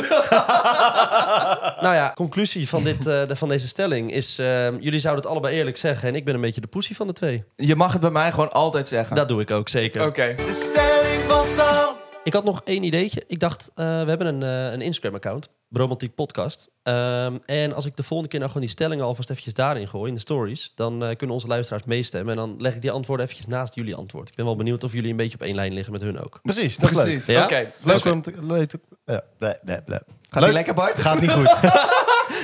Speaker 2: nou ja, conclusie van, dit, eh, de- van deze stelling is... eh, jullie zouden het allebei eerlijk zeggen... en ik ben een beetje de poesie van de twee.
Speaker 1: Je mag het bij mij gewoon altijd zeggen.
Speaker 2: Dat doe ik ook, zeker.
Speaker 1: Oké.
Speaker 4: De stelling van Sam.
Speaker 2: Ik had nog één ideetje. Ik dacht, eh, we hebben een, eh, een Instagram-account. Romantiek Podcast. Ehm, en als ik de volgende keer nou gewoon die stellingen alvast eventjes daarin gooi, in de stories, dan eh, kunnen onze luisteraars meestemmen. En dan leg ik die antwoorden eventjes naast jullie antwoord. Ik ben wel benieuwd of jullie een beetje op één lijn liggen met hun ook.
Speaker 3: Precies, dat is leuk.
Speaker 1: Precies.
Speaker 2: Ja?
Speaker 1: Oké.
Speaker 3: Leuk
Speaker 1: Oké.
Speaker 3: om te- leuk te- ja, bleh, bleh, bleh.
Speaker 1: Gaat
Speaker 3: Leuk.
Speaker 1: die lekker, Bart?
Speaker 3: Gaat niet goed.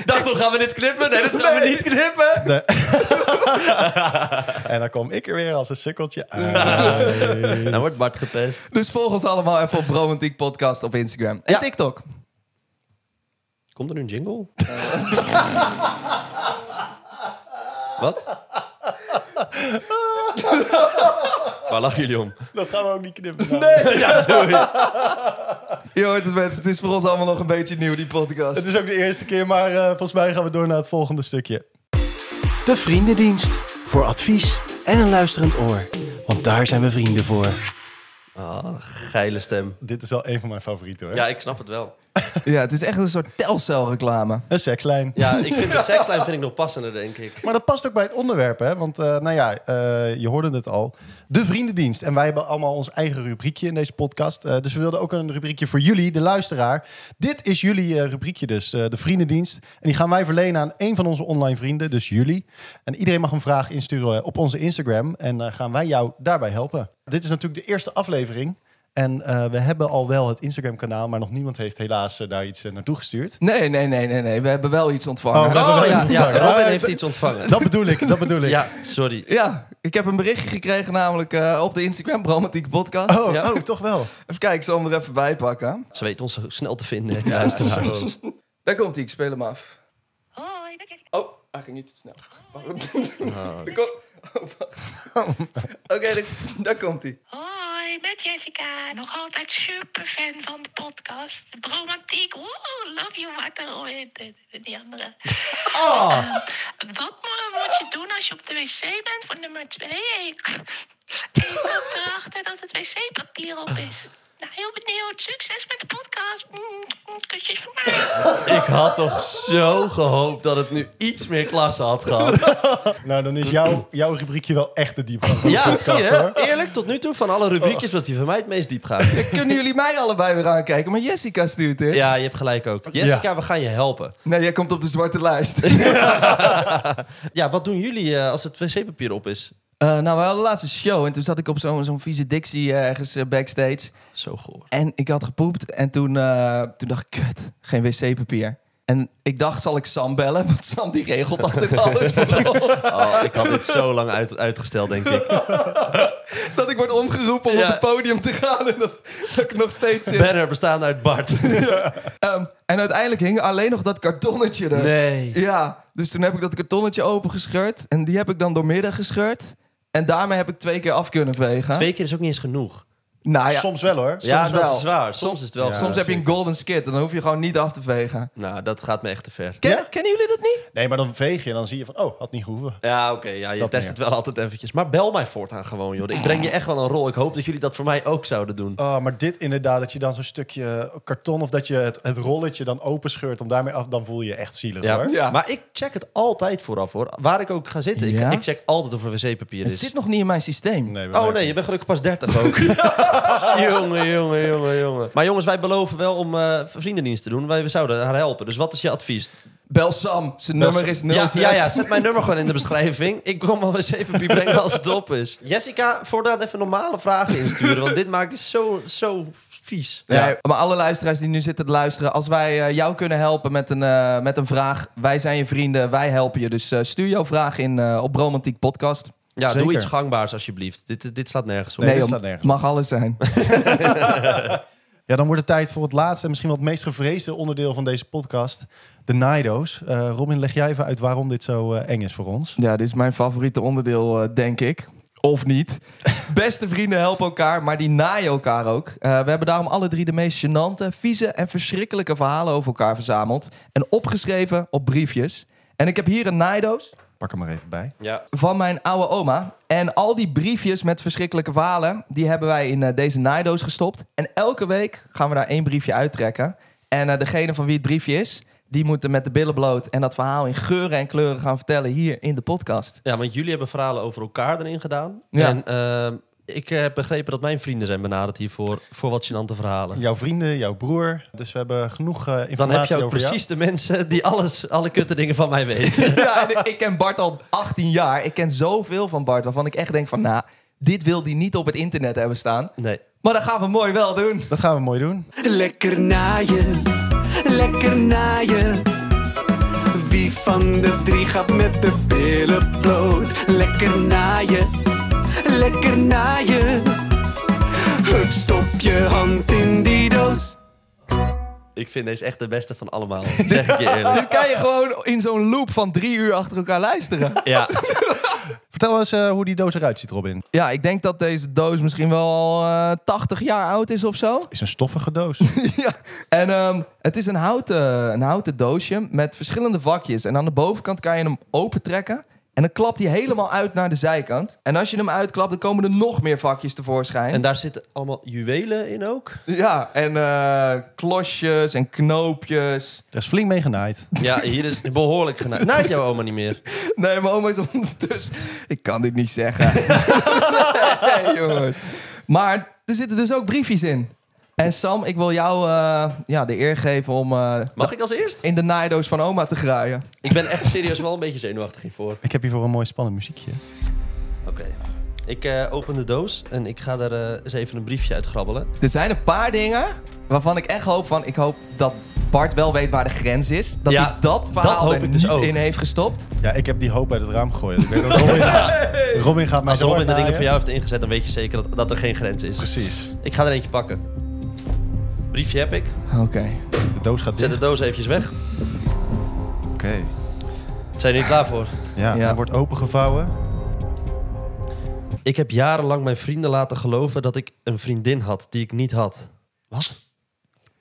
Speaker 2: dacht nog, gaan we dit knippen? Nee, dat gaan we niet knippen.
Speaker 3: En dan kom ik er weer als een sukkeltje uit.
Speaker 2: Dan wordt Bart gepest.
Speaker 1: Dus volg ons allemaal even op Bromantiek Podcast op Instagram en
Speaker 2: Ja.
Speaker 1: TikTok.
Speaker 2: Komt er nu een jingle? Wat? Waar lachen jullie om?
Speaker 3: Dat gaan we ook niet knippen.
Speaker 2: Ja, sorry.
Speaker 1: Je hoort het mensen, het is voor ons allemaal nog een beetje nieuw, die podcast.
Speaker 3: Het is ook de eerste keer, maar eh, volgens mij gaan we door naar het volgende stukje.
Speaker 5: De Vriendendienst. Voor advies en een luisterend oor. Want daar zijn we vrienden voor.
Speaker 2: Ah, geile stem.
Speaker 3: Dit is wel een van mijn favorieten hoor.
Speaker 2: Ja, ik snap het wel.
Speaker 1: Ja, het is echt een soort telcel reclame.
Speaker 3: Een sekslijn.
Speaker 2: Ja, ik vind de sekslijn vind ik nog passender, denk ik.
Speaker 3: Maar dat past ook bij het onderwerp, hè? Want eh, nou ja, eh, je hoorde het al. De Vriendendienst. En wij hebben allemaal ons eigen rubriekje in deze podcast. Eh, dus we wilden ook een rubriekje voor jullie, de luisteraar. Dit is jullie eh, rubriekje dus, eh, de Vriendendienst. En die gaan wij verlenen aan een van onze online vrienden, dus jullie. En iedereen mag een vraag insturen op onze Instagram. En eh, gaan wij jou daarbij helpen. Dit is natuurlijk de eerste aflevering. En eh, we hebben al wel het Instagram-kanaal, maar nog niemand heeft helaas eh, daar iets eh, naartoe gestuurd.
Speaker 1: Nee, nee, nee, nee, nee. We hebben wel iets ontvangen.
Speaker 3: Oh, dat-
Speaker 2: Oh, ja, ja,
Speaker 3: ontvangen.
Speaker 2: Robin heeft iets ontvangen.
Speaker 3: Dat bedoel ik, dat bedoel ik.
Speaker 2: Ja, sorry.
Speaker 1: Ja, ik heb een berichtje gekregen namelijk eh, op de Instagram, Bromantiek Podcast.
Speaker 3: Oh,
Speaker 2: Ja.
Speaker 3: oh, toch wel.
Speaker 1: Even kijken, ik zal hem er even bij pakken.
Speaker 2: Ze weet ons snel te vinden. eh, Ja, luisteraars.
Speaker 1: Daar komt hij, ik speel hem af.
Speaker 6: Hoi, met Jessica.
Speaker 1: Oh, hij ging niet te snel. Wacht. Daar komt- oh, wacht. Oké, daar- daar komt hij.
Speaker 6: Hoi, met Jessica. Nog altijd super fan van de podcast. Romantiek. Woe, love you, Marten Robin. En Die andere.
Speaker 5: Oh.
Speaker 6: Eh, wat mo- moet je doen als je op de wc bent voor nummer 2? Ik, ik kom erachter dat het wc-papier op is. Nou, heel benieuwd. Succes met de podcast. Mm, mm, kusjes voor mij.
Speaker 2: Ik had toch zo gehoopt dat het nu iets meer klasse had gehad.
Speaker 3: Nou, dan is jouw, jouw rubriekje wel echt de diepgang van de
Speaker 2: Ja, zie
Speaker 3: podcast,
Speaker 2: je?
Speaker 3: hoor.
Speaker 2: Eerlijk, tot nu toe van alle rubriekjes was die van mij het meest diep gaat.
Speaker 1: Kunnen jullie mij allebei weer aankijken? Maar Jessica stuurt dit.
Speaker 2: Ja, je hebt gelijk ook. Jessica, we gaan je helpen.
Speaker 1: Nee, jij komt op de zwarte lijst. Eh,
Speaker 2: Ja, wat doen jullie eh, als het wc-papier op is?
Speaker 1: Eh, nou, we hadden de laatste show en toen zat ik op zo'n zo'n vieze Dixie eh, ergens eh, backstage.
Speaker 2: Zo goor.
Speaker 1: En ik had gepoept en toen, eh, toen dacht ik, kut, geen wc-papier. En ik dacht, zal ik Sam bellen? Want Sam die regelt altijd alles voor ons.
Speaker 2: Oh, ik had dit zo lang uit, uitgesteld, denk ik.
Speaker 1: Dat ik word omgeroepen om
Speaker 2: Ja.
Speaker 1: op het podium te gaan en dat, dat ik nog steeds zit.
Speaker 2: Banner bestaande uit Bart.
Speaker 1: Ehm, en uiteindelijk hing alleen nog dat kartonnetje er.
Speaker 2: Nee.
Speaker 1: Ja, dus toen heb ik dat kartonnetje opengescheurd en die heb ik dan doormidden gescheurd. En daarmee heb ik twee keer af kunnen vegen.
Speaker 2: Twee keer is ook niet eens genoeg.
Speaker 1: Nou ja,
Speaker 3: Soms wel, hoor.
Speaker 2: Ah, ja, dat
Speaker 1: wel.
Speaker 2: is waar. Soms is het wel.
Speaker 3: Ja.
Speaker 1: soms heb je een golden skit en dan hoef je gewoon niet af te vegen.
Speaker 2: Nou, dat gaat me echt te ver.
Speaker 1: Ken-
Speaker 3: Ja?
Speaker 1: Kennen jullie dat niet?
Speaker 3: Nee, maar dan veeg je en dan zie je van... Oh, had niet gehoeven.
Speaker 2: Ja, oké. ja, je
Speaker 3: Dat
Speaker 2: test
Speaker 3: meer.
Speaker 2: het wel altijd eventjes. Maar bel mij voortaan gewoon, joh. Ik breng je echt wel een rol. Ik hoop dat jullie dat voor mij ook zouden doen.
Speaker 3: Oh, maar dit inderdaad, dat je dan zo'n stukje karton... of dat je het, het rolletje dan openscheurt om daarmee af... dan voel je je echt zielig,
Speaker 2: Ja.
Speaker 3: hoor.
Speaker 1: Ja.
Speaker 2: Maar ik check het altijd vooraf, hoor. Waar ik ook ga zitten, ik-
Speaker 1: Ja?
Speaker 2: ik, check altijd of er wc-papier
Speaker 1: Het
Speaker 2: is.
Speaker 1: zit nog niet in mijn systeem.
Speaker 3: Nee, we
Speaker 2: Oh
Speaker 3: weten
Speaker 2: nee, je
Speaker 3: het.
Speaker 2: bent gelukkig pas 30 ook. jongen, jongen, jongen, jongen. Maar jongens, wij beloven wel om eh, vriendendienst te doen. Wij we zouden haar helpen. Dus wat is je advies?
Speaker 1: Bel Sam, zijn nummer is 06.
Speaker 2: Ja, ja, ja, zet mijn nummer gewoon in de beschrijving. Ik kom wel eens even bij brengen als het op is. Jessica, voordat even normale vragen insturen. Want dit maakt je zo, zo vies.
Speaker 1: Nee, maar alle luisteraars die nu zitten te luisteren, als wij eh, jou kunnen helpen met een, eh, met een vraag, wij zijn je vrienden, wij helpen je. Dus eh, stuur jouw vraag in eh, op Bromantiek Podcast.
Speaker 2: Ja, doe
Speaker 3: Zeker.
Speaker 2: iets gangbaars alsjeblieft. Dit, dit slaat nergens op.
Speaker 3: Nee. dit
Speaker 1: joh,
Speaker 3: staat nergens.
Speaker 1: mag alles zijn.
Speaker 3: Ja, dan wordt het tijd voor het laatste... en misschien wel het meest gevreesde onderdeel van deze podcast. De Naido's. Eh, Robin, leg jij even uit waarom dit zo eh, eng is voor ons.
Speaker 1: ja, dit is mijn favoriete onderdeel, eh, denk ik. Of niet. Beste vrienden helpen elkaar, maar die naaien elkaar ook. Eh, we hebben daarom alle drie de meest gênante, vieze en verschrikkelijke verhalen over elkaar verzameld. En opgeschreven op briefjes. En ik heb hier een naaidoos.
Speaker 3: Pak hem maar even bij.
Speaker 2: Ja.
Speaker 1: van mijn oude oma. En al die briefjes met verschrikkelijke verhalen, die hebben wij in eh, deze naaidoos gestopt. En elke week gaan we daar één briefje uittrekken. En eh, degene van wie het briefje is, die moeten met de billen bloot en dat verhaal in geuren en kleuren gaan vertellen hier in de podcast.
Speaker 2: ja, want jullie hebben verhalen over elkaar erin gedaan.
Speaker 1: Ja.
Speaker 2: En ehm, ik heb begrepen dat mijn vrienden zijn benaderd hiervoor. Voor wat gênante verhalen.
Speaker 3: Jouw vrienden, jouw broer. Dus we hebben genoeg eh, informatie
Speaker 2: Dan heb je ook
Speaker 3: over jou.
Speaker 2: precies de mensen die alles, alle kutte dingen van mij weten.
Speaker 1: ja, en ik- ik ken Bart al 18 jaar. Ik ken zoveel van Bart waarvan ik echt denk van, nou, dit wil die niet op het internet hebben staan.
Speaker 2: Nee.
Speaker 1: Maar dat gaan we mooi wel doen.
Speaker 3: Dat gaan we mooi doen.
Speaker 7: Lekker naaien, lekker naaien.
Speaker 5: Wie van de drie gaat met de billen bloot? Lekker naaien, lekker naaien. Hup, stop je hand in die doos.
Speaker 2: Ik vind deze echt de beste van allemaal. Zeg ik je eerlijk.
Speaker 1: Kan je gewoon in zo'n loop van drie uur achter elkaar luisteren?
Speaker 2: Ja.
Speaker 3: Vertel eens eh, hoe die doos eruit ziet, Robin.
Speaker 1: Ja, ik denk dat deze doos misschien wel eh 80 jaar oud is of zo.
Speaker 3: Is een stoffige doos.
Speaker 1: ja. En ehm, het is een houten, een houten doosje met verschillende vakjes. En aan de bovenkant kan je hem opentrekken. En dan klapt hij helemaal uit naar de zijkant. En als je hem uitklapt, dan komen er nog meer vakjes tevoorschijn.
Speaker 2: En daar zitten allemaal juwelen in ook.
Speaker 1: Ja, en eh klosjes en knoopjes.
Speaker 3: Er is flink mee genaaid.
Speaker 2: Ja, hier is behoorlijk genaaid. Naait jouw oma niet meer?
Speaker 1: Nee, mijn oma is ondertussen... Ik kan dit niet zeggen. nee, jongens. Maar er zitten dus ook briefjes in. En Sam, ik wil jou eh, ja, de eer geven om eh,
Speaker 2: Mag ik als eerst?
Speaker 1: in de naaidoos van oma te graaien.
Speaker 2: Ik ben echt serieus wel een beetje zenuwachtig hiervoor.
Speaker 3: Ik heb hiervoor een mooi spannend muziekje.
Speaker 2: Oké. Ik eh, open de doos en ik ga daar eh, eens even een briefje uit grabbelen.
Speaker 1: Er zijn een paar dingen waarvan ik echt hoop van... Ik hoop dat Bart wel weet waar de grens is. Dat
Speaker 2: Ja,
Speaker 1: hij dat
Speaker 2: dat
Speaker 1: verhaal
Speaker 2: hoop
Speaker 1: er
Speaker 2: ik dus
Speaker 1: niet
Speaker 2: ook.
Speaker 1: in heeft gestopt.
Speaker 3: Ja, ik heb die hoop uit het raam gegooid. Ik weet dat Robin, Robin gaat mij
Speaker 2: Als
Speaker 3: zo
Speaker 2: Robin de dingen
Speaker 3: naaien.
Speaker 2: voor jou heeft ingezet, dan weet je zeker dat, dat er geen grens is.
Speaker 3: Precies.
Speaker 2: Ik ga er eentje pakken. Briefje heb ik.
Speaker 1: Oké.
Speaker 3: De doos gaat
Speaker 2: Zet
Speaker 3: dicht.
Speaker 2: de
Speaker 3: Oké.
Speaker 2: doos eventjes weg. Zijn jullie klaar voor?
Speaker 3: Ja,
Speaker 1: Ja.
Speaker 3: hij wordt opengevouwen.
Speaker 2: Ik heb jarenlang mijn vrienden laten geloven dat ik een vriendin had die ik niet had. Wat?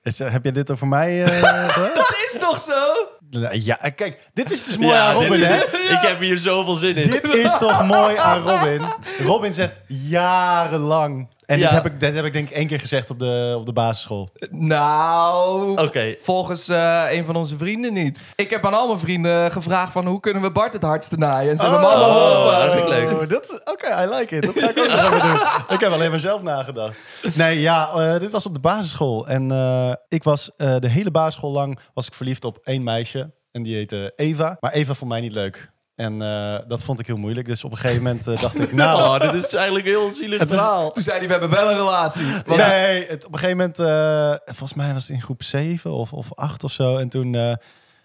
Speaker 3: Is, eh, heb je dit over mij? eh, gedaan?
Speaker 1: Dat is toch zo?
Speaker 3: Nee, ja, kijk, dit is dus mooi aan Robin,
Speaker 2: dit-
Speaker 3: hè?
Speaker 2: Ik heb hier zoveel zin in.
Speaker 3: Dit is toch mooi aan Robin? Robin zegt jarenlang. En
Speaker 2: Ja.
Speaker 3: dit, heb ik, dit heb ik denk ik één keer gezegd op de, op de basisschool.
Speaker 1: Nou,
Speaker 2: Oké.
Speaker 1: volgens eh, een van onze vrienden niet. Ik heb aan al mijn vrienden gevraagd van hoe kunnen we Bart het hardste naaien? En ze hebben me allemaal geholpen.
Speaker 2: Oh, dat vind ik leuk.
Speaker 3: Oh, dat is- Oké, I like it. Dat ga ik ook nog even doen. Ik heb alleen maar zelf nagedacht. Nee, ja, eh, dit was op de basisschool. En eh, ik was eh, de hele basisschool lang was ik verliefd op één meisje. En die heette Eva. Maar Eva vond mij niet leuk. En eh, dat vond ik heel moeilijk. Dus op een gegeven moment eh, dacht ik, nou...
Speaker 2: Oh, dit is eigenlijk een heel zielig
Speaker 3: Het is-
Speaker 2: verhaal.
Speaker 1: Nou, Toen zei hij, we hebben wel een relatie. Want-
Speaker 3: Nee, het, op een gegeven moment, eh, volgens mij was het in groep 7 of, of 8 of zo. En toen, eh,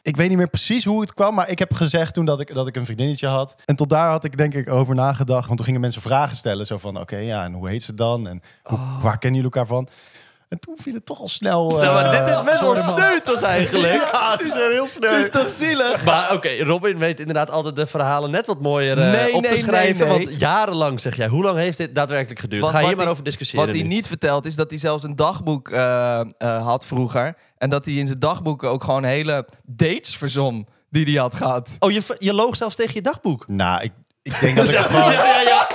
Speaker 3: ik weet niet meer precies hoe het kwam, maar ik heb gezegd toen dat ik, dat ik een vriendinnetje had. En tot daar had ik denk ik over nagedacht. Want toen gingen mensen vragen stellen. Zo van, oké, ja, en hoe heet ze dan? En hoe,
Speaker 2: Oh.
Speaker 3: waar kennen jullie elkaar van? En toen viel het toch al snel... eh,
Speaker 2: Nou, maar dit is best
Speaker 3: door
Speaker 2: wel
Speaker 3: de man.
Speaker 2: sneu toch eigenlijk?
Speaker 3: Ja, het is wel heel sneu.
Speaker 2: is toch zielig? Maar oké, Robin weet inderdaad altijd de verhalen net wat mooier eh,
Speaker 1: Nee,
Speaker 2: op te
Speaker 1: nee,
Speaker 2: schrijven.
Speaker 1: nee, nee.
Speaker 2: Want jarenlang zeg jij, hoe lang heeft dit daadwerkelijk geduurd?
Speaker 1: Want
Speaker 2: Ga hier
Speaker 1: wat
Speaker 2: maar
Speaker 1: hij-
Speaker 2: over discussiëren.
Speaker 1: Wat hij
Speaker 2: nu.
Speaker 1: niet vertelt is dat hij zelfs een dagboek eh, eh, had vroeger. En dat hij in zijn dagboek ook gewoon hele dates verzon die hij had gehad.
Speaker 2: Oh, je, v- je loog zelfs tegen je dagboek.
Speaker 3: Nou, ik, ik denk dat ik het gewoon... Ja,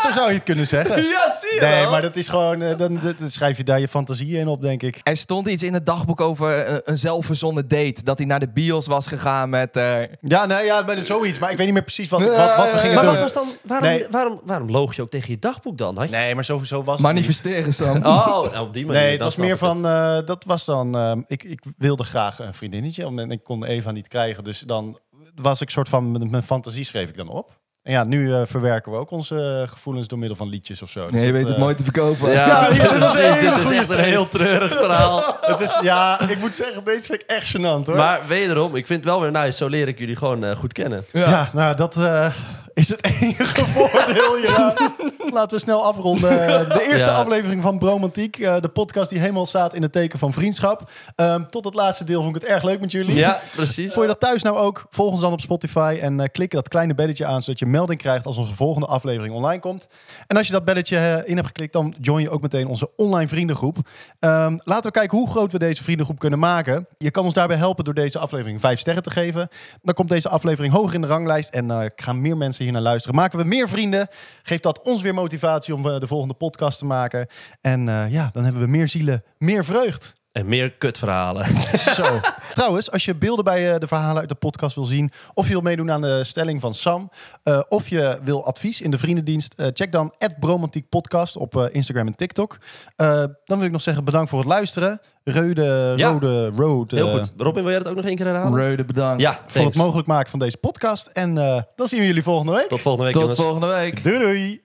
Speaker 3: zo zou je het kunnen zeggen.
Speaker 1: Ja, zie
Speaker 3: Nee, maar dat is gewoon... eh, dan, dan schrijf je daar je fantasieën in op, denk ik.
Speaker 1: Er stond iets in het dagboek over eh, een zelfverzonnen date. Dat hij naar de bios was gegaan met... eh,
Speaker 3: Ja, nee, ja, maar het is zoiets. Maar ik weet niet meer precies wat, wat, wat we gingen
Speaker 2: Maar
Speaker 3: doen.
Speaker 2: wat was dan, waarom,
Speaker 3: Nee.
Speaker 2: waarom, waarom loog je ook tegen je dagboek dan? Had je-
Speaker 3: Nee, maar sowieso was het niet.
Speaker 1: manifesteren, Sam.
Speaker 2: Oh, nou, op die manier.
Speaker 3: Nee, het
Speaker 2: dan
Speaker 3: was
Speaker 2: snap
Speaker 3: meer
Speaker 2: ik het.
Speaker 3: van... eh, dat was dan... eh, ik, ik wilde graag een vriendinnetje. En ik kon Eva niet krijgen. Dus dan was ik soort van... Mijn, mijn fantasie schreef ik dan op. En ja, nu eh, verwerken we ook onze eh, gevoelens door middel van liedjes of zo. Dus
Speaker 1: Nee, je weet
Speaker 3: eh,
Speaker 1: het mooi te verkopen.
Speaker 2: Ja,
Speaker 3: Ja, dit is een hele
Speaker 2: dit is
Speaker 3: goede
Speaker 2: echt een
Speaker 3: schreef.
Speaker 2: heel treurig verhaal.
Speaker 3: Het is, ja, ik moet zeggen, deze vind ik echt gênant hoor.
Speaker 2: Maar wederom, ik vind het wel weer nice. Zo leer ik jullie gewoon eh, goed kennen.
Speaker 3: ja. nou dat eh, is het enige voordeel hieraan. Laten we snel afronden. Eh, De eerste
Speaker 2: Ja.
Speaker 3: aflevering van Bromantiek. eh, de podcast die helemaal staat in het teken van vriendschap. Ehm, tot het laatste deel vond ik het erg leuk met jullie.
Speaker 2: Ja, precies.
Speaker 3: Vond je dat thuis nou ook? Volg ons dan op Spotify en eh, klik dat kleine belletje aan... zodat je melding krijgt als onze volgende aflevering online komt. En als je dat belletje eh, in hebt geklikt... dan join je ook meteen onze online vriendengroep. Ehm, laten we kijken hoe groot we deze vriendengroep kunnen maken. Je kan ons daarbij helpen door deze aflevering vijf sterren te geven. Dan komt deze aflevering hoger in de ranglijst... en eh, gaan meer mensen hier naar luisteren. Maken we meer vrienden, geeft dat ons weer motivatie... om eh, de volgende podcast te maken. En eh, ja, dan hebben we meer zielen, meer vreugd.
Speaker 2: En meer kutverhalen.
Speaker 3: Zo. Trouwens, als je beelden bij eh, de verhalen uit de podcast wil zien... of je wil meedoen aan de stelling van Sam... eh, of je wil advies in de vriendendienst... eh, check dan Bromantiek Podcast op eh, Instagram en TikTok. Eh, dan wil ik nog zeggen bedankt voor het luisteren. Rode,
Speaker 2: Ja.
Speaker 3: rode, road. eh,
Speaker 2: Heel goed. Robin, wil jij dat ook nog één keer herhalen?
Speaker 1: Reude, bedankt.
Speaker 2: Ja,
Speaker 3: Voor het
Speaker 2: thanks.
Speaker 3: mogelijk maken van deze podcast. En eh, dan zien we jullie volgende week.
Speaker 2: Tot volgende week,
Speaker 1: Tot
Speaker 2: jongens.
Speaker 1: volgende week.
Speaker 3: Doei doei.